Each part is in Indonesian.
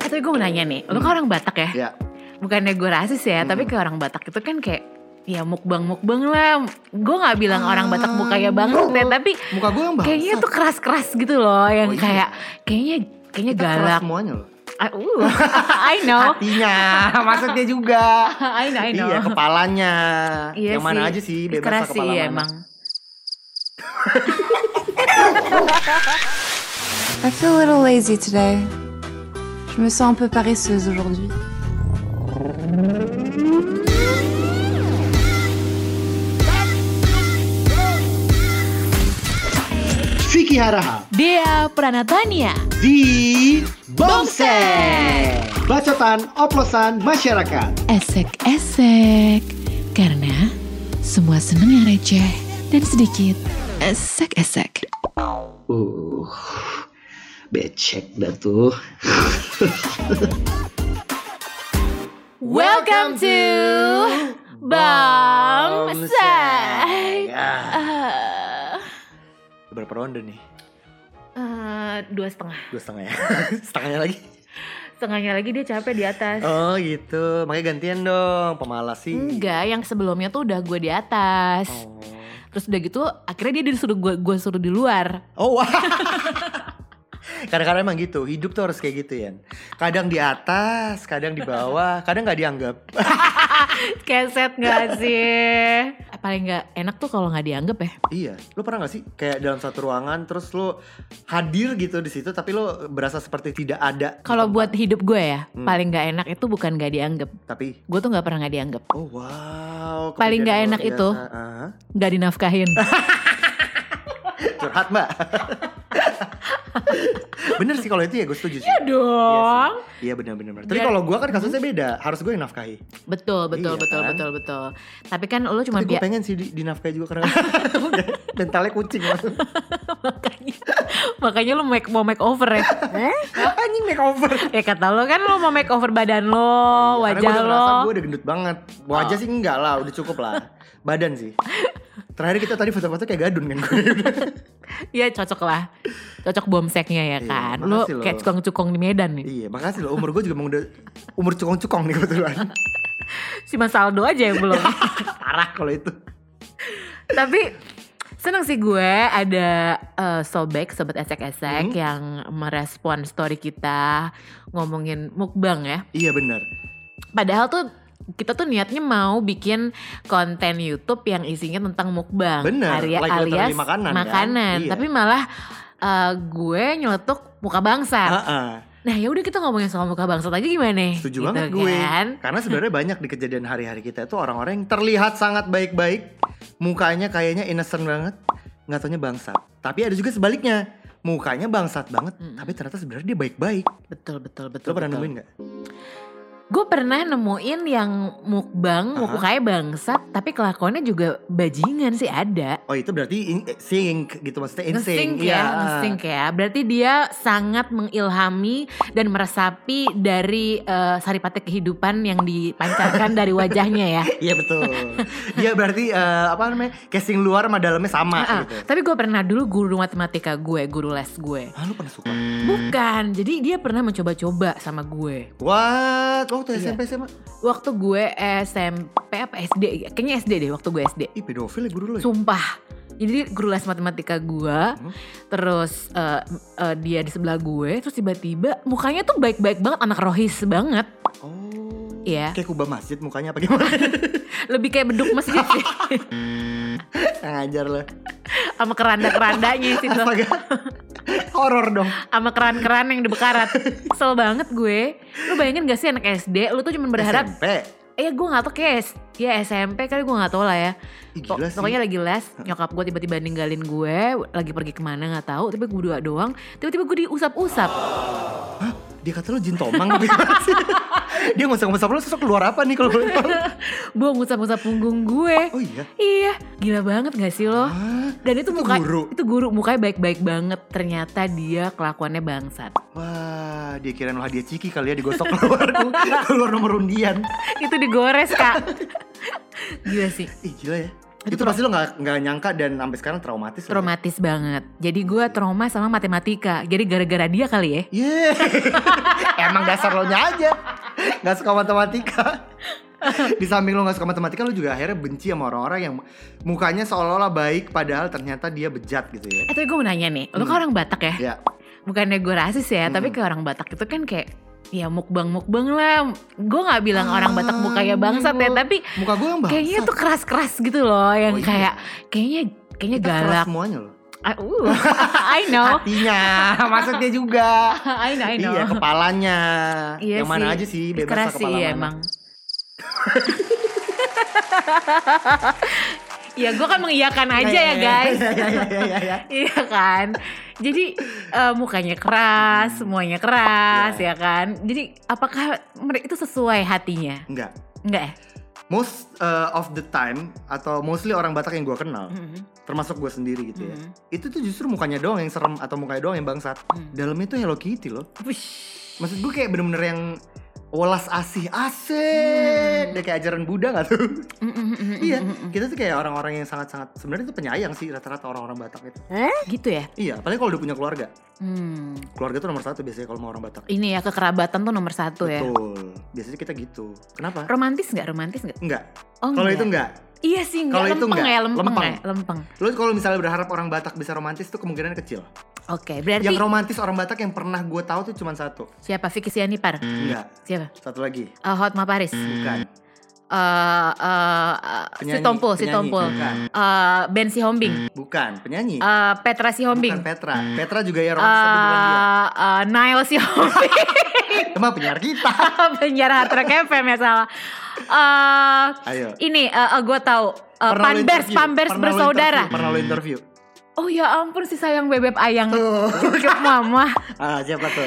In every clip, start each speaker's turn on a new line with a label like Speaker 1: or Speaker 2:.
Speaker 1: tapi gue mau nanya nih, lu kan orang Batak ya?
Speaker 2: Ya,
Speaker 1: Bukannya gue rasis ya,
Speaker 2: Hmm.
Speaker 1: tapi kayak orang Batak itu kan kayak ya mukbang mukbang lah. Gue nggak bilang
Speaker 2: Ah.
Speaker 1: orang Batak mukanya banget ya, tapi
Speaker 2: muka gue yang bahasa.
Speaker 1: kayaknya tuh keras keras gitu loh, yang
Speaker 2: Oh, iya.
Speaker 1: kayak kayaknya kayaknya
Speaker 2: Kita keras
Speaker 1: galak.
Speaker 2: semuanya loh.
Speaker 1: Ah, uh, I know,
Speaker 2: Hatinya, maksudnya juga.
Speaker 1: I know, I know.
Speaker 2: Iya, kepalanya.
Speaker 1: Iya
Speaker 2: yang mana
Speaker 1: sih.
Speaker 2: aja sih bebas
Speaker 1: keras
Speaker 2: lah
Speaker 1: sih
Speaker 2: kepala
Speaker 1: iya,
Speaker 2: mana.
Speaker 1: emang.
Speaker 3: I feel a little lazy today. Je me sens un peu paresseuse aujourd'hui.
Speaker 2: Vicky Haraha
Speaker 1: Dia Pranatania.
Speaker 2: di
Speaker 1: Bomsek.
Speaker 2: Bomsek. Bacotan oplosan masyarakat.
Speaker 1: esek-esek karena semua seneng yang receh dan sedikit esek-esek.
Speaker 2: Uh, becek dah tuh.
Speaker 1: Welcome to Bomsek.
Speaker 2: Ya.
Speaker 1: Eh,
Speaker 2: Berapa ronde nih?
Speaker 1: eh, dua setengah
Speaker 2: Dua setengah ya? Setengahnya lagi?
Speaker 1: setengahnya lagi dia capek di atas
Speaker 2: Oh gitu, makanya gantian dong pemalas sih
Speaker 1: enggak yang sebelumnya tuh udah gue di atas
Speaker 2: Oh,
Speaker 1: terus udah gitu akhirnya dia disuruh gue gue suruh di luar
Speaker 2: oh wah Kadang-kadang emang gitu, hidup tuh harus kayak gitu ya Kadang di atas, kadang di bawah, kadang nggak dianggap Eh,
Speaker 1: keset gak sih Eh, paling nggak enak tuh kalau nggak dianggap ya
Speaker 2: Iya, lu pernah gak sih kayak dalam satu ruangan terus lu hadir gitu di situ tapi lu berasa seperti tidak ada
Speaker 1: Kalau buat hidup gue ya,
Speaker 2: Hmm.
Speaker 1: paling nggak enak itu bukan nggak dianggap.
Speaker 2: tapi
Speaker 1: Gue tuh nggak pernah nggak dianggap,
Speaker 2: oh wow
Speaker 1: Paling nggak
Speaker 2: kejadian
Speaker 1: enak
Speaker 2: luar
Speaker 1: itu.
Speaker 2: biasa. Ah,
Speaker 1: nggak dinafkahin.
Speaker 2: curhat mbak bener sih kalau itu ya gue setuju sih
Speaker 1: Iya Dong.
Speaker 2: iya bener-bener tapi
Speaker 1: Biar- Mm-hmm.
Speaker 2: kalau gue kan kasusnya beda harus gue yang nafkahi
Speaker 1: Betul, betul,
Speaker 2: Iya
Speaker 1: betul,
Speaker 2: kan?
Speaker 1: betul, betul. Tapi kan lo cuma
Speaker 2: tapi gue
Speaker 1: biar
Speaker 2: pengen sih di, dinafkahi juga karena mentalnya kucing langsung
Speaker 1: makanya, makanya lo make, mau make over ya.
Speaker 2: anjing makeover
Speaker 1: ya kata lo kan lo mau make over badan lo,
Speaker 2: Oh, iya, Karena gue
Speaker 1: wajah
Speaker 2: udah
Speaker 1: lo. Oh.
Speaker 2: ngerasa gue udah gendut banget Wajah sih enggak lah udah cukup lah Badan sih Terakhir kita tadi foto-foto kayak gadun kan gue
Speaker 1: Iya cocok lah, cocok bomseknya ya
Speaker 2: Iya,
Speaker 1: kan. Lo
Speaker 2: makasih lo.
Speaker 1: kayak cukong-cukong di Medan nih.
Speaker 2: Iya makasih loh umur gue juga emang udah Umur cukong-cukong nih kebetulan
Speaker 1: Si Mas Aldo aja yang belum.
Speaker 2: Parah kalau itu
Speaker 1: Tapi seneng sih gue ada eh, sobek sobat
Speaker 2: Hmm?
Speaker 1: esek-esek yang merespon story kita ngomongin mukbang ya.
Speaker 2: Iya benar.
Speaker 1: Padahal tuh kita tuh niatnya mau bikin konten YouTube yang isinya tentang mukbang,
Speaker 2: Bener,
Speaker 1: area
Speaker 2: like literally
Speaker 1: alias
Speaker 2: makanan, kan? Iya.
Speaker 1: Tapi malah eh, gue nyeletuk muka bangsa.
Speaker 2: Ah,
Speaker 1: Nah ya udah kita ngomongin soal muka bangsa aja gimana?
Speaker 2: Setuju
Speaker 1: Gitu
Speaker 2: banget gue.
Speaker 1: kan?
Speaker 2: Karena sebenarnya banyak di kejadian hari-hari kita itu orang-orang yang terlihat sangat baik-baik, mukanya kayaknya innocent banget, nggak taunya bangsat. Tapi ada juga sebaliknya, mukanya bangsat banget,
Speaker 1: Mm.
Speaker 2: tapi ternyata sebenarnya dia baik-baik.
Speaker 1: Betul betul betul.
Speaker 2: Lo pernah
Speaker 1: betul.
Speaker 2: nemuin nggak?
Speaker 1: Gue pernah nemuin yang mukbang,
Speaker 2: Aha.
Speaker 1: mukanya bangsat, tapi kelakuannya juga bajingan sih ada.
Speaker 2: Oh itu berarti in- sync gitu maksudnya in sync.
Speaker 1: Nge-sync ya, nge-sync ya. Berarti dia sangat mengilhami dan meresapi dari eh, saripati kehidupan yang dipancarkan dari wajahnya ya.
Speaker 2: Iya betul. Dia berarti eh, apa namanya casing luar sama dalamnya sama
Speaker 1: Ah,
Speaker 2: gitu.
Speaker 1: Tapi gue pernah dulu guru matematika gue, guru les gue.
Speaker 2: Ah lu pernah suka?
Speaker 1: Bukan, jadi dia pernah mencoba-coba sama gue.
Speaker 2: What? Waktu
Speaker 1: Iya.
Speaker 2: SMP SMA?
Speaker 1: Waktu gue SMP apa SD, kayaknya SD deh waktu gue SD.
Speaker 2: Ih pedofil ya guru lu ya?
Speaker 1: Sumpah. Jadi guru les matematika gue,
Speaker 2: Hmm.
Speaker 1: terus eh, eh, dia di sebelah gue, terus tiba-tiba mukanya tuh baik-baik banget, anak rohis banget.
Speaker 2: Oh.
Speaker 1: Iya.
Speaker 2: Kayak kubah masjid mukanya apa gimana?
Speaker 1: lebih kayak beduk masjid sih
Speaker 2: Ngajar lah.
Speaker 1: sama keranda-kerandanya sih tuh
Speaker 2: Astaga. Horor dong.
Speaker 1: sama keran-keran yang dibekarat kesel banget gue lu bayangin gak sih anak SD lu tuh cuma berharap
Speaker 2: SMP.
Speaker 1: eh gue gak tau kayak S- ya SMP kali gue gak tau lah ya
Speaker 2: Ih,
Speaker 1: Po-
Speaker 2: gila sih.
Speaker 1: pokoknya lagi les nyokap gue tiba-tiba ninggalin gue lagi pergi kemana gak tahu tapi gue dua doang tiba-tiba gue diusap-usap
Speaker 2: Dia kata lu jin tomang apa gimana sih? Dia ngusap-ngusap lu sosok keluar apa nih kalau lu-
Speaker 1: gue ngusap-ngusap punggung gue
Speaker 2: Oh iya.
Speaker 1: iya gila banget gak sih lo
Speaker 2: Hah?
Speaker 1: dan itu,
Speaker 2: Itu
Speaker 1: muka
Speaker 2: guru?
Speaker 1: itu guru mukanya baik-baik banget ternyata dia kelakuannya bangsat
Speaker 2: Wah, dia kirain lu hadiah ciki kali ya digosok keluar keluar nomor undian.
Speaker 1: itu digores kak gila sih
Speaker 2: Ih, gila ya.
Speaker 1: Itu
Speaker 2: itu pasti lo nggak nggak nyangka dan sampai sekarang traumatis. lo, ya?
Speaker 1: Traumatis banget. Jadi gue trauma sama matematika. Jadi gara-gara dia kali ya.
Speaker 2: Yeay. Iya. Emang dasar lo nya aja. Gak suka matematika. Di samping lo gak suka matematika, lo juga akhirnya benci sama orang-orang yang mukanya seolah-olah baik padahal ternyata dia bejat gitu ya.
Speaker 1: Eh tapi gue mau nanya nih, lo kan orang Batak ya?
Speaker 2: Ya,
Speaker 1: Bukannya gue rasis ya, tapi
Speaker 2: Mm-mm.
Speaker 1: kayak orang Batak itu kan kayak ya mukbang-mukbang lah. Gue nggak bilang orang Batak mukanya bangsat ya, tapi
Speaker 2: muka gue yang Ah, bangsat.
Speaker 1: kayaknya tuh keras-keras gitu loh, yang
Speaker 2: Oh, iya.
Speaker 1: kayak kayaknya kayaknya
Speaker 2: Kita keras
Speaker 1: galak.
Speaker 2: semuanya loh.
Speaker 1: Ah, uh, I know,
Speaker 2: Hatinya, maksudnya juga.
Speaker 1: I know, I know.
Speaker 2: Iya, kepalanya.
Speaker 1: Iya
Speaker 2: yang
Speaker 1: sih.
Speaker 2: mana aja sih bebas
Speaker 1: keras
Speaker 2: lah
Speaker 1: sih
Speaker 2: kepala
Speaker 1: iya,
Speaker 2: mana.
Speaker 1: emang. ya gue kan mengiyakan aja ya guys.
Speaker 2: Iya, iya, iya, iya, iya.
Speaker 1: Iya kan. Jadi eh, mukanya keras, semuanya keras
Speaker 2: Hmm. Iya.
Speaker 1: ya kan. Jadi apakah mereka itu sesuai hatinya?
Speaker 2: Enggak.
Speaker 1: Enggak ya?
Speaker 2: Most uh, of the time atau mostly orang Batak yang gue kenal,
Speaker 1: Mm-mm.
Speaker 2: termasuk gue sendiri gitu ya.
Speaker 1: Mm-mm.
Speaker 2: Itu tuh justru mukanya doang yang serem atau mukanya doang yang bangsat.
Speaker 1: Mm.
Speaker 2: Dalamnya tuh Hello Kitty loh.
Speaker 1: Wush.
Speaker 2: Maksud gue kayak bener-bener yang welas asih
Speaker 1: Hmm.
Speaker 2: asik. Dia kayak ajaran Buddha gak tuh?
Speaker 1: Mm-mm-mm-mm-mm.
Speaker 2: Iya, kita tuh kayak orang-orang yang sangat-sangat sebenarnya tuh penyayang sih rata-rata orang-orang Batak itu.
Speaker 1: Gitu ya.
Speaker 2: Iya, apalagi kalau udah punya keluarga.
Speaker 1: Hmm.
Speaker 2: Keluarga tuh nomor satu biasanya kalau mau orang Batak.
Speaker 1: Ini ya kekerabatan tuh nomor satu ya.
Speaker 2: Betul. Biasanya kita gitu. Kenapa?
Speaker 1: Romantis nggak? Romantis nggak?
Speaker 2: Enggak.
Speaker 1: Oh,
Speaker 2: Kalau itu enggak.
Speaker 1: Iya sih enggak.
Speaker 2: Kalau itu
Speaker 1: lempeng
Speaker 2: enggak.
Speaker 1: ya, lempeng,
Speaker 2: Lempeng.
Speaker 1: ya, lempeng.
Speaker 2: Lo kalau misalnya berharap orang Batak bisa romantis tuh kemungkinan kecil.
Speaker 1: Oke, berarti
Speaker 2: Yang romantis orang Batak yang pernah gue tahu tuh cuma satu.
Speaker 1: siapa? Vicky Sianipar?
Speaker 2: Enggak.
Speaker 1: Siapa?
Speaker 2: Satu lagi.
Speaker 1: Eh, Hotma Paris?
Speaker 2: Bukan.
Speaker 1: Eh, eh, eh, si
Speaker 2: Hmm. Penyanyi,
Speaker 1: Tompo, si
Speaker 2: penyanyi.
Speaker 1: Tompo.
Speaker 2: Bukan.
Speaker 1: Eh, ben si Hombing.
Speaker 2: Bukan. Penyanyi.
Speaker 1: Eh, Petra si Hombing.
Speaker 2: Bukan Petra.
Speaker 1: Hmm.
Speaker 2: Petra juga ya romantis tapi bukan dia.
Speaker 1: eh eh, Nail si Hombing.
Speaker 2: Emang penyiar kita.
Speaker 1: Penjara Hard Rock FM ya salah. Eh,
Speaker 2: Ayo.
Speaker 1: ini gue tahu eh,
Speaker 2: Pernah lo
Speaker 1: Panbers
Speaker 2: interview?
Speaker 1: Panbers
Speaker 2: Pernah lo
Speaker 1: bersaudara.
Speaker 2: interview? Pernah lo interview?
Speaker 1: Oh ya ampun si sayang bebek ayang.
Speaker 2: Tuh.
Speaker 1: Cukup mama.
Speaker 2: Ah, siapa tuh?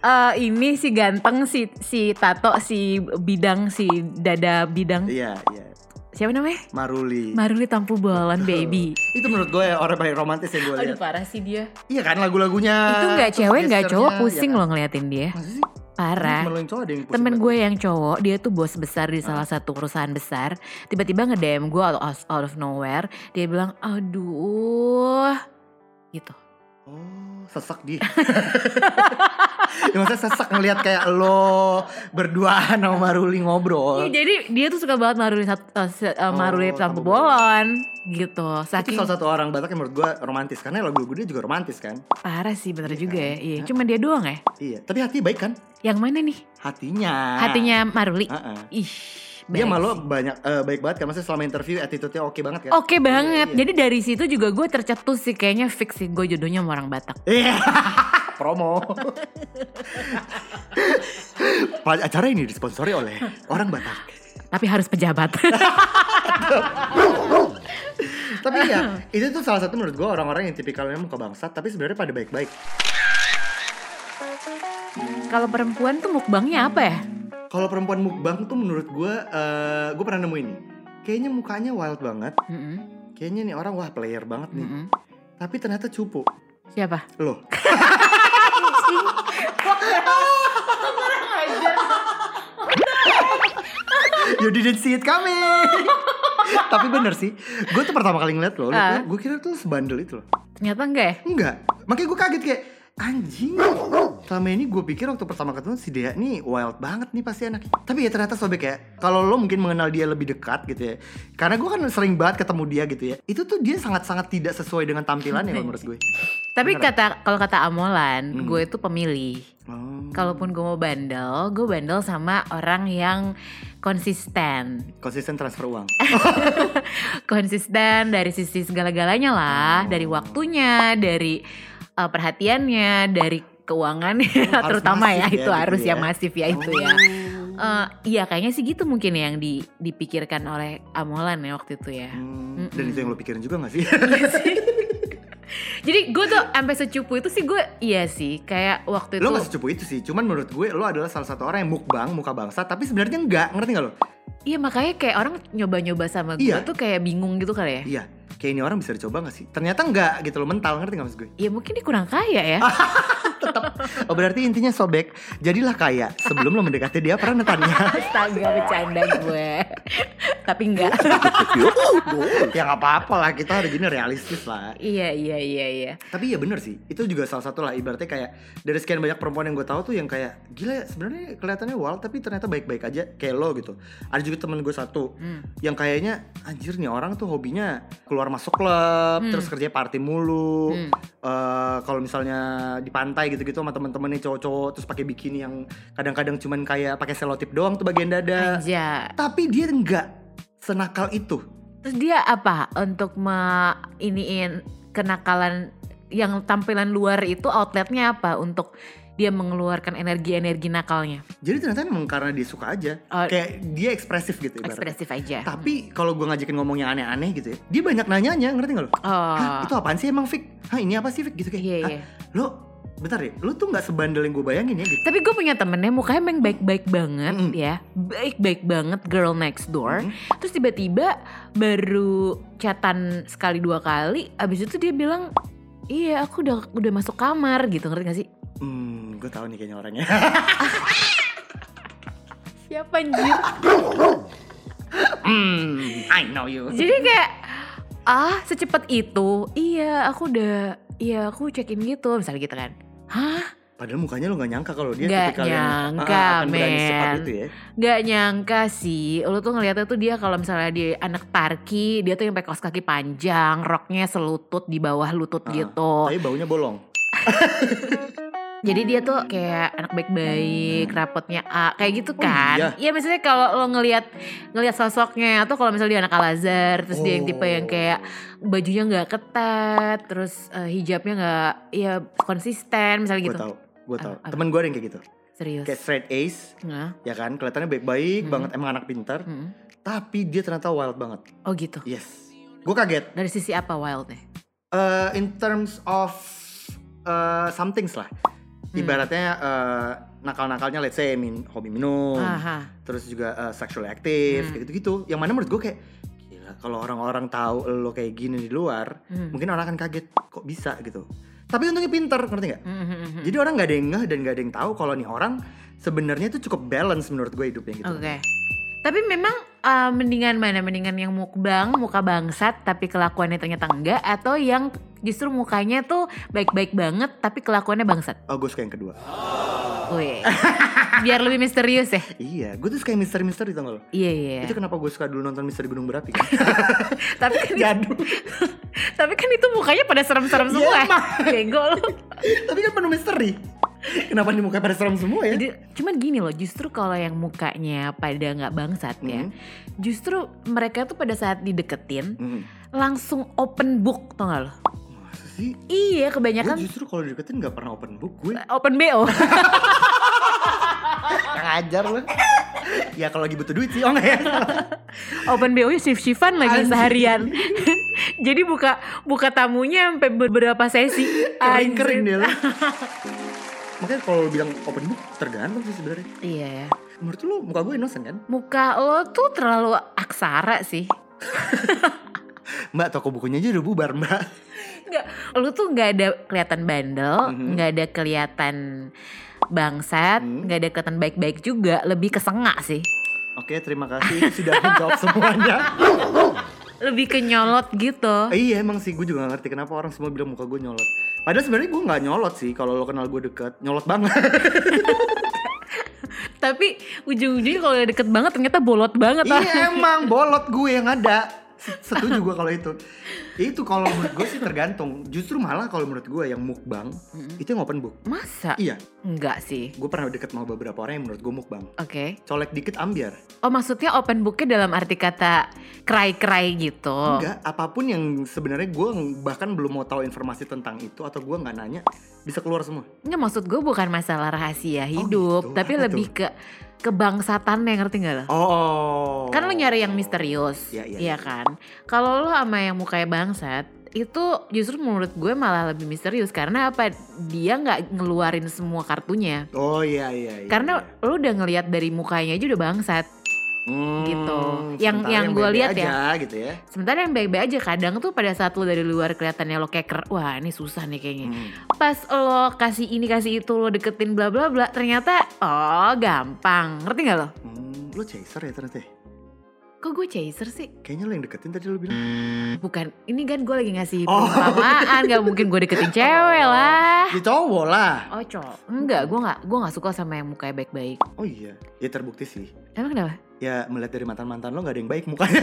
Speaker 1: Eh, ini si ganteng si si tato si bidang si dada bidang.
Speaker 2: Iya, iya.
Speaker 1: Siapa namanya?
Speaker 2: Maruli.
Speaker 1: Maruli Tampu Bolan
Speaker 2: Tuh.
Speaker 1: baby.
Speaker 2: Itu menurut gue ya orang paling romantis yang gue
Speaker 1: Aduh
Speaker 2: lihat.
Speaker 1: parah sih dia.
Speaker 2: Iya kan lagu-lagunya.
Speaker 1: Itu nggak
Speaker 2: terus
Speaker 1: cewek nggak cowok
Speaker 2: gesturnya,
Speaker 1: pusing
Speaker 2: ya kan?
Speaker 1: loh ngeliatin dia.
Speaker 2: Masa sih?
Speaker 1: Parah.
Speaker 2: Cuma lo yang cowok ada yang pusing
Speaker 1: Temen
Speaker 2: banget.
Speaker 1: gue yang cowok, dia tuh bos besar di salah satu perusahaan besar. Tiba-tiba nge-DM gue out, out- out of nowhere. Dia bilang, aduh. Gitu.
Speaker 2: Oh, sesak dia. ya maksudnya sesak ngelihat kayak lo berduaan sama Maruli ngobrol.
Speaker 1: Iya, jadi dia tuh suka banget maruli sat- eh, se- eh, maruli
Speaker 2: Oh,
Speaker 1: Tampu
Speaker 2: Tampu
Speaker 1: bolon. Gitu.
Speaker 2: Itu
Speaker 1: Saking
Speaker 2: salah satu orang Batak yang menurut gue romantis karena lagu-lagu dia juga romantis kan.
Speaker 1: parah sih bener
Speaker 2: Iya
Speaker 1: juga
Speaker 2: kan?
Speaker 1: ya. Iya, cuma dia doang ya.
Speaker 2: Iya, tapi hati baik kan?
Speaker 1: Yang mana nih?
Speaker 2: Hatinya.
Speaker 1: Hatinya Maruli.
Speaker 2: Heeh.
Speaker 1: Ih.
Speaker 2: Ah.
Speaker 1: baik
Speaker 2: Dia
Speaker 1: Oh,
Speaker 2: malu
Speaker 1: sih.
Speaker 2: banyak eh, baik banget kan maksudnya selama interview attitude-nya oke banget kan?
Speaker 1: Oke banget.
Speaker 2: Iya, iya.
Speaker 1: Jadi dari situ juga gue tercetus sih kayaknya fix sih gue jodohnya sama orang Batak.
Speaker 2: Iya. Promo. Acara ini disponsori oleh orang Batak.
Speaker 1: Tapi harus pejabat.
Speaker 2: tapi ya itu tuh salah satu menurut gue orang-orang yang tipikalnya muka bangsat tapi sebenarnya pada baik-baik
Speaker 1: Kalau perempuan tuh mukbangnya apa ya?
Speaker 2: kalau perempuan mukbang tuh menurut gue gue pernah nemu ini kayaknya mukanya wild banget
Speaker 1: Mm-mm.
Speaker 2: kayaknya nih orang wah player banget nih
Speaker 1: Mm-mm.
Speaker 2: tapi ternyata cupu
Speaker 1: Siapa?
Speaker 2: loh you didn't see it coming tapi bener sih gue tuh pertama kali ngeliat loh
Speaker 1: Ah.
Speaker 2: gue kira tuh sebandel itu loh
Speaker 1: Ternyata enggak ya?
Speaker 2: Enggak, makanya gue kaget kayak anjing. Selama ini gue pikir waktu pertama ketemu si Dea nih wild banget nih pasti anaknya. Tapi ya ternyata sobek ya. Kalau lo mungkin mengenal dia lebih dekat gitu ya. Karena gue kan sering banget ketemu dia gitu ya. Itu tuh dia sangat-sangat tidak sesuai dengan tampilannya kalau menurut gue.
Speaker 1: Tapi
Speaker 2: Beneran.
Speaker 1: kata kalau kata Amolan,
Speaker 2: Hmm.
Speaker 1: gue itu pemilih.
Speaker 2: Hmm,
Speaker 1: Kalaupun gue mau bandel, gue bandel sama orang yang konsisten.
Speaker 2: konsisten transfer uang.
Speaker 1: Konsisten dari sisi segala-galanya lah,
Speaker 2: Oh.
Speaker 1: dari waktunya, dari uh, perhatiannya, dari keuangannya
Speaker 2: Harus
Speaker 1: terutama ya
Speaker 2: masif ya,
Speaker 1: itu
Speaker 2: gitu
Speaker 1: harus ya
Speaker 2: ya.
Speaker 1: masif ya itu ya. Eh, iya kayaknya sih gitu mungkin yang di- dipikirkan oleh Amolan ya waktu itu ya.
Speaker 2: Hmm, dan itu yang lo pikirin juga gak sih?
Speaker 1: Jadi gue tuh sampai secupu itu sih gue iya sih kayak waktu itu
Speaker 2: lo gak secepu itu sih, cuman menurut gue lo adalah salah satu orang yang mukbang, muka bangsa, tapi sebenarnya enggak, ngerti gak lo?
Speaker 1: iya makanya kayak orang nyoba-nyoba sama gue
Speaker 2: Iya.
Speaker 1: tuh kayak bingung gitu kali ya.
Speaker 2: Iya, kayak ini orang bisa dicoba gak sih? Ternyata enggak gitu lo mental, ngerti gak maksud gue?
Speaker 1: Ya mungkin dia kurang kaya ya.
Speaker 2: Oh berarti intinya sobek, jadilah kaya sebelum lo mendekati dia pernah netanya.
Speaker 1: Astaga bercanda gue. tapi enggak.
Speaker 2: ya nggak apa-apa lah kita hari gini realistis lah
Speaker 1: iya, iya, iya, iya.
Speaker 2: tapi ya bener sih itu juga salah satu lah ibaratnya kayak dari sekian banyak perempuan yang gue tahu tuh yang kayak gila ya, sebenarnya kelihatannya wild tapi ternyata baik-baik aja kayak lo gitu ada juga temen gue satu
Speaker 1: Hmm.
Speaker 2: yang kayaknya anjir nih orang tuh hobinya keluar masuk klub
Speaker 1: Hmm.
Speaker 2: terus kerja party mulu
Speaker 1: Hmm.
Speaker 2: Eh, kalau misalnya di pantai gitu-gitu sama temen-temennya cowok-cowok terus pakai bikini yang kadang-kadang cuman kayak pakai selotip doang tuh bagian dada
Speaker 1: Aja.
Speaker 2: tapi dia enggak senakal itu
Speaker 1: Terus dia apa untuk me iniin kenakalan yang tampilan luar itu outletnya apa untuk dia mengeluarkan energi-energi nakalnya?
Speaker 2: jadi ternyata memang karena dia suka aja
Speaker 1: Oh.
Speaker 2: kayak dia ekspresif gitu ibaratnya
Speaker 1: Ekspresif aja.
Speaker 2: tapi kalau gue ngajakin ngomong yang aneh-aneh gitu ya dia banyak nanyanya ngerti gak lo Hah,
Speaker 1: Oh.
Speaker 2: itu apaan sih emang Fik? Hah ini apa sih Fik? Gitu kayak,
Speaker 1: Iya,
Speaker 2: "Hah,
Speaker 1: iya.
Speaker 2: lo bentar ya, lo tuh nggak sebandel yang gue bayangin ya gitu.
Speaker 1: Tapi gue punya temennya mukanya emang baik-baik banget
Speaker 2: Mm-mm.
Speaker 1: ya Baik-baik banget girl next door
Speaker 2: Mm.
Speaker 1: Terus tiba-tiba baru chatan sekali dua kali Abis itu dia bilang Iya aku udah udah masuk kamar gitu ngerti gak sih?
Speaker 2: Hmm, gue tahu nih kayaknya orangnya.
Speaker 1: Siapa anjir?
Speaker 2: hmm, I know you.
Speaker 1: Jadi kayak Ah secepat itu Iya aku udah Iya aku check in gitu misalnya gitu kan Hah?
Speaker 2: Padahal mukanya lo nggak nyangka kalau dia
Speaker 1: Nggak
Speaker 2: tipikal
Speaker 1: nyangka,
Speaker 2: ah, akan berani secepat
Speaker 1: men.
Speaker 2: itu ya.
Speaker 1: Gak nyangka sih, lu tuh ngeliatnya tuh dia kalau misalnya dia anak parki, dia tuh yang pakai kaos kaki panjang, roknya selutut di bawah lutut
Speaker 2: Ah,
Speaker 1: gitu.
Speaker 2: Tapi baunya bolong.
Speaker 1: Jadi dia tuh kayak anak baik-baik, rapotnya A, kayak gitu
Speaker 2: Oh,
Speaker 1: kan? Iya, misalnya kalau lo ngelihat ngelihat sosoknya atau kalau misalnya dia anak Al-Azhar, terus dia yang tipe yang
Speaker 2: Oh.
Speaker 1: kayak bajunya nggak ketat, terus eh, hijabnya nggak ya konsisten, misalnya
Speaker 2: Gue
Speaker 1: gitu.
Speaker 2: tahu, gue
Speaker 1: Apa-
Speaker 2: tahu.
Speaker 1: apa?
Speaker 2: Temen gue ada yang kayak gitu.
Speaker 1: Serius.
Speaker 2: Kayak straight ace,
Speaker 1: Nah,
Speaker 2: ya kan? Kelihatannya baik-baik
Speaker 1: Hmm.
Speaker 2: banget, emang anak pintar.
Speaker 1: mm.
Speaker 2: Tapi dia ternyata wild banget.
Speaker 1: Oh gitu.
Speaker 2: Yes. Gue kaget.
Speaker 1: Dari sisi apa wildnya?
Speaker 2: Eh, in terms of eh something lah.
Speaker 1: Hmm.
Speaker 2: Ibaratnya eh, nakal-nakalnya let's say min, hobi minum,
Speaker 1: Aha.
Speaker 2: terus juga eh, sexually active
Speaker 1: Hmm.
Speaker 2: kayak gitu-gitu. Yang mana menurut gue kayak gila kalau orang-orang tahu lo kayak gini di luar,
Speaker 1: Hmm.
Speaker 2: mungkin orang akan kaget kok bisa gitu. Tapi untungnya pinter, ngerti nggak?
Speaker 1: Mhm.
Speaker 2: Jadi orang nggak ada yang ngeh dan nggak ada yang tahu kalau nih orang sebenarnya itu cukup balance menurut gue hidupnya gitu.
Speaker 1: Oke. Tapi memang uh, mendingan mana? Mendingan yang mukbang, muka bangsat tapi kelakuannya ternyata enggak atau yang justru mukanya tuh baik-baik banget tapi kelakuannya bangsat.
Speaker 2: Oh gue suka yang kedua.
Speaker 1: Wih. Biar lebih misterius ya.
Speaker 2: Iya, gue tuh suka yang misteri-misteri tau nggak lo?
Speaker 1: Iya iya.
Speaker 2: Itu kan kenapa gue suka dulu nonton Misteri Gunung Berapi kan?
Speaker 1: Tapi kan
Speaker 2: Gaduh.
Speaker 1: tapi kan itu mukanya pada serem-serem
Speaker 2: Iya,
Speaker 1: semua.
Speaker 2: emang.
Speaker 1: Bego lu.
Speaker 2: Tapi kan penuh misteri. Kenapa di muka pada serem semua ya?
Speaker 1: Jadi, cuman gini loh, justru kalau yang mukanya pada nggak bangsat ya,
Speaker 2: Mhm.
Speaker 1: justru mereka tuh pada saat dideketin
Speaker 2: Hmm.
Speaker 1: langsung open book, tau gak lo?
Speaker 2: Masa sih?
Speaker 1: Iya,
Speaker 2: Gue
Speaker 1: kebanyakan
Speaker 2: justru kalau deketin gak pernah open book gue.
Speaker 1: open bo.
Speaker 2: Kurang ajar lo. ya kalau lagi butuh duit sih, oh enggak ya?
Speaker 1: Open BO nya shift shiftan lagi
Speaker 2: Anjing.
Speaker 1: seharian. Jadi buka buka tamunya sampai beberapa sesi.
Speaker 2: Kering-kering
Speaker 1: Anjir.
Speaker 2: dia lo. Makanya kalau lo bilang open book, tergantung sih sebenarnya.
Speaker 1: Iya ya.
Speaker 2: Menurut lo muka gue innocent kan?
Speaker 1: Muka lo tuh terlalu aksara sih.
Speaker 2: Mbak, toko bukunya aja udah bubar mbak.
Speaker 1: Enggak, lo tuh nggak ada kelihatan bandel,
Speaker 2: Mhm.
Speaker 1: nggak ada kelihatan bangsat,
Speaker 2: Hmm.
Speaker 1: nggak ada kelihatan baik-baik juga, lebih kesengak sih.
Speaker 2: Oke, terima kasih sudah menjawab semuanya.
Speaker 1: Lebih kenyolot gitu.
Speaker 2: Eh, iya emang sih, gue juga gak ngerti kenapa orang semua bilang muka gue nyolot. Padahal sebenarnya gue gak nyolot sih, kalau lo kenal gue deket, nyolot banget.
Speaker 1: Tapi ujung-ujungnya kalau udah deket banget ternyata bolot banget ah.
Speaker 2: Iya emang bolot gue yang ada. Setuju gue kalau itu. Itu kalau menurut gue sih tergantung. Justru malah kalau menurut gue yang mukbang itu yang open book.
Speaker 1: Masa?
Speaker 2: Iya,
Speaker 1: Enggak sih.
Speaker 2: gue pernah deket sama beberapa orang yang menurut gue mukbang.
Speaker 1: Oke.
Speaker 2: Colek dikit ambiar.
Speaker 1: Oh maksudnya open booknya dalam arti kata kerai-kerai gitu.
Speaker 2: Enggak, apapun yang sebenarnya gue bahkan belum mau tahu informasi tentang itu atau gue nggak nanya bisa keluar semua.
Speaker 1: Enggak maksud gue bukan masalah rahasia hidup,
Speaker 2: gitu.
Speaker 1: tapi
Speaker 2: Apa
Speaker 1: lebih ke kebangsatannya ngerti gak lo?
Speaker 2: Oh.
Speaker 1: Kan lo nyari yang misterius,
Speaker 2: Iya, iya, iya.
Speaker 1: kan? Kalau lo sama yang mukanya bangsat, itu justru menurut gue malah lebih misterius karena apa? Dia nggak ngeluarin semua kartunya.
Speaker 2: Oh iya iya. iya
Speaker 1: Karena
Speaker 2: iya.
Speaker 1: lo udah ngelihat dari mukanya aja udah bangsat.
Speaker 2: Hmm,
Speaker 1: gitu. Yang-
Speaker 2: sementara
Speaker 1: yang gue
Speaker 2: beda
Speaker 1: lihat
Speaker 2: aja, gitu ya.
Speaker 1: Sementara yang baik-baik aja kadang tuh pada saat lo dari luar kelihatannya lo kayak ker- wah ini susah nih kayaknya.
Speaker 2: Hmm.
Speaker 1: pas lo kasih ini kasih itu lo deketin bla bla bla ternyata oh gampang ngerti nggak lo
Speaker 2: Hmm, lo chaser ya ternyata. ya?
Speaker 1: Kok gue chaser sih?
Speaker 2: Kayaknya lo yang deketin tadi lo bilang.
Speaker 1: Bukan, ini kan gue lagi ngasih
Speaker 2: Oh.
Speaker 1: perumpamaan, gak mungkin gue deketin cewek lah.
Speaker 2: Ya cowok lah.
Speaker 1: Oh cowok, enggak, gue gak, gue gak suka sama yang mukanya baik-baik.
Speaker 2: Oh iya, ya terbukti sih.
Speaker 1: Emang kenapa?
Speaker 2: Ya melihat dari mantan-mantan lo gak ada yang baik mukanya.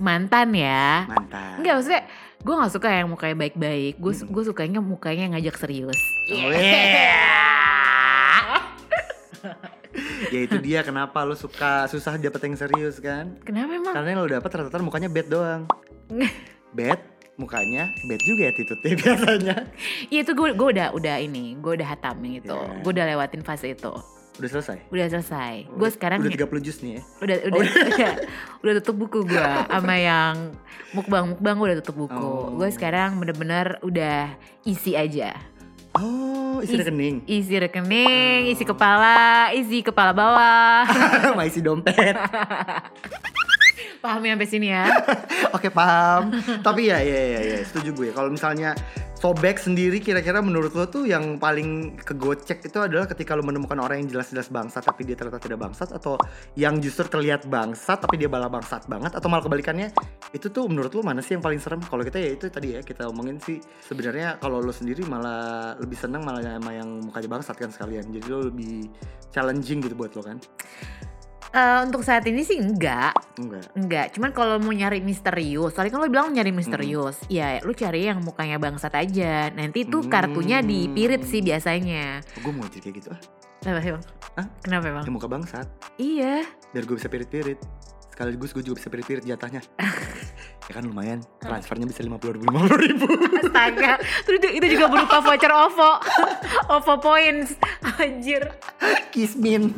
Speaker 1: Mantan ya.
Speaker 2: Mantan.
Speaker 1: Enggak maksudnya, gue gak suka yang mukanya baik-baik. Gue
Speaker 2: Mm-mm.
Speaker 1: gue sukanya mukanya yang ngajak serius.
Speaker 2: Iya. Ya itu dia kenapa lo suka susah dapet yang serius kan?
Speaker 1: Kenapa emang?
Speaker 2: Karena yang lo dapet rata-rata mukanya bad doang.
Speaker 1: Nggak.
Speaker 2: bad mukanya bad juga ya, attitude-nya biasanya.
Speaker 1: Iya itu gue gue udah udah ini, gue udah hatamin gitu.
Speaker 2: Iya.
Speaker 1: Gue udah lewatin fase itu.
Speaker 2: Udah selesai.
Speaker 1: Udah selesai. Gue
Speaker 2: Udah-
Speaker 1: sekarang
Speaker 2: udah 30 jus nih ya.
Speaker 1: udah udah udah, udah tutup buku gue sama yang mukbang mukbang gue udah tutup buku
Speaker 2: Oh.
Speaker 1: gue sekarang bener-bener udah isi aja
Speaker 2: Oh, isi
Speaker 1: Is-
Speaker 2: rekening.
Speaker 1: isi rekening isi kepala isi kepala bawah
Speaker 2: Sama isi dompet.
Speaker 1: pahami sampai sini ya
Speaker 2: Oke, paham. Tapi ya ya ya, ya, setuju gue. Kalau misalnya sobek sendiri kira-kira menurut lo tuh yang paling kegocek itu adalah ketika lo menemukan orang yang jelas-jelas bangsat tapi dia ternyata tidak bangsat atau yang justru terlihat bangsat tapi dia bala bangsat banget atau malah kebalikannya. Itu tuh menurut lo mana sih yang paling serem? Kalau kita ya itu tadi ya kita omongin sih sebenarnya kalau lo sendiri malah lebih seneng malah sama yang mukanya bangsat kan sekalian. Jadi lo lebih challenging gitu buat lo kan?
Speaker 1: Eh, untuk saat ini sih enggak
Speaker 2: Enggak.
Speaker 1: enggak cuman kalau mau nyari misterius soalnya kan lo bilang nyari misterius
Speaker 2: Hmm.
Speaker 1: ya lu cari yang mukanya bangsat aja nanti tuh kartunya
Speaker 2: Hmm.
Speaker 1: dipirit sih biasanya
Speaker 2: Gue mau jadi kayak gitu ah.
Speaker 1: kenapa sih bang
Speaker 2: Hah?
Speaker 1: kenapa bang
Speaker 2: Yang muka bangsat.
Speaker 1: iya
Speaker 2: biar gue bisa pirit-pirit sekaligus gue juga bisa pirit-pirit jatahnya ya kan lumayan transfernya bisa lima puluh ribu lima ribu
Speaker 1: Astaga, terus itu- itu juga berupa voucher OVO, OVO points, anjir.
Speaker 2: kismin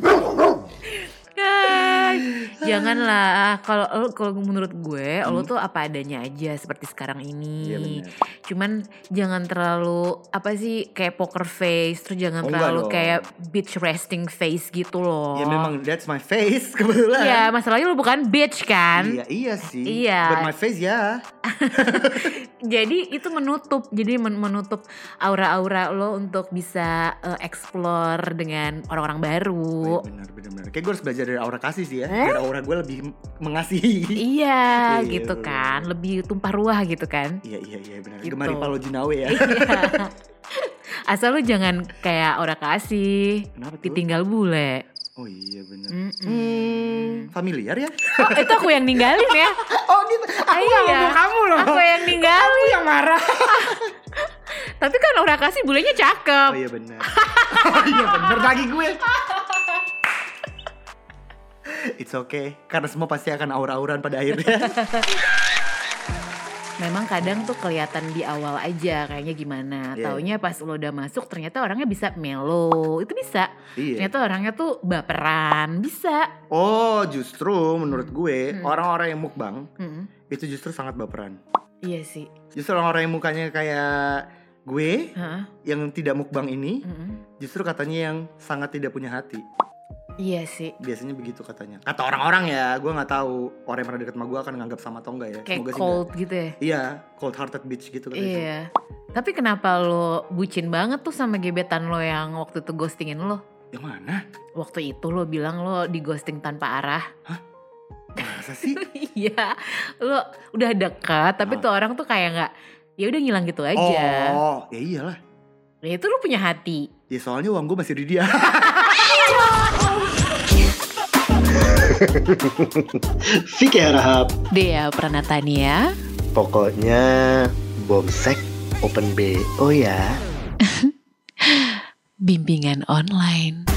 Speaker 1: Ah, Janganlah, kalau lo- kalau menurut gue, lo tuh apa adanya aja seperti sekarang
Speaker 2: Hmm. Iya,
Speaker 1: ini.
Speaker 2: benar.
Speaker 1: Cuman jangan terlalu apa sih kayak poker face, terus jangan
Speaker 2: Oh, enggak
Speaker 1: terlalu
Speaker 2: dong.
Speaker 1: kayak bitch resting face gitu loh.
Speaker 2: ya memang that's my face kebetulan
Speaker 1: Iya, masalahnya lo bukan bitch kan.
Speaker 2: Iya, iya sih.
Speaker 1: Iya.
Speaker 2: But my face ya.
Speaker 1: Jadi itu menutup, jadi men- menutup aura-aura lo untuk bisa eh, explore dengan orang-orang baru.
Speaker 2: Oh, iya, benar, benar, benar. Kayak gue harus belajar dari aura kasih sih ya. Biar aura gue lebih mengasihi.
Speaker 1: Eh? Iya
Speaker 2: Iya,
Speaker 1: gitu
Speaker 2: bener.
Speaker 1: kan Lebih tumpah ruah gitu kan
Speaker 2: Iya, iya, iya benar.
Speaker 1: Gitu.
Speaker 2: Gemari Palo Jinawe ya.
Speaker 1: Iya Asal lu jangan kayak orang kasih
Speaker 2: Kenapa tuh?
Speaker 1: Ditinggal bule
Speaker 2: Oh iya benar.
Speaker 1: Mm-mm.
Speaker 2: Hmm, familiar ya?
Speaker 1: Oh itu aku yang ninggalin ya
Speaker 2: Oh gitu. Aku
Speaker 1: Iya.
Speaker 2: nggak ngomong kamu loh.
Speaker 1: Aku yang ninggalin
Speaker 2: yang marah.
Speaker 1: Tapi kan orang kasih bulenya cakep
Speaker 2: Oh iya benar. Oh iya benar lagi gue. It's okay, karena semua pasti akan aura-auran pada akhirnya.
Speaker 1: Memang kadang tuh kelihatan di awal aja Kayaknya gimana
Speaker 2: Iya.
Speaker 1: Taunya pas lo udah masuk Ternyata orangnya bisa melo Itu bisa
Speaker 2: iya.
Speaker 1: Ternyata orangnya tuh baperan Bisa
Speaker 2: Oh, justru menurut
Speaker 1: Hmm.
Speaker 2: gue orang-orang yang mukbang
Speaker 1: Mm-mm.
Speaker 2: itu justru sangat baperan.
Speaker 1: Iya sih
Speaker 2: Justru orang-orang yang mukanya kayak gue
Speaker 1: Hah?
Speaker 2: yang tidak mukbang ini
Speaker 1: Mm-mm.
Speaker 2: justru katanya yang sangat tidak punya hati.
Speaker 1: Iya sih
Speaker 2: Biasanya begitu katanya. Kata orang-orang ya, gue nggak tahu orang yang pernah deket sama gue akan nganggap sama atau enggak ya.
Speaker 1: Kayak
Speaker 2: sih
Speaker 1: cold gitu ya
Speaker 2: nggak. Iya, cold hearted bitch gitu katanya.
Speaker 1: Iya. Tapi kenapa lo bucin banget tuh sama gebetan lo yang waktu itu ghostingin lo?
Speaker 2: Yang mana?
Speaker 1: Waktu itu lo bilang lo di ghosting tanpa arah.
Speaker 2: Masa sih?
Speaker 1: Iya. lo udah dekat tapi
Speaker 2: Ah.
Speaker 1: tuh orang tuh kayak nggak ya udah ngilang gitu aja.
Speaker 2: Oh, ya iyalah.
Speaker 1: Ya itu lo punya hati.
Speaker 2: Ya soalnya uang gue masih di dia. Fikir Rahab.
Speaker 1: Dea Pranatania.
Speaker 2: Pokoknya bomsek open BO ya.
Speaker 1: Bimbingan online.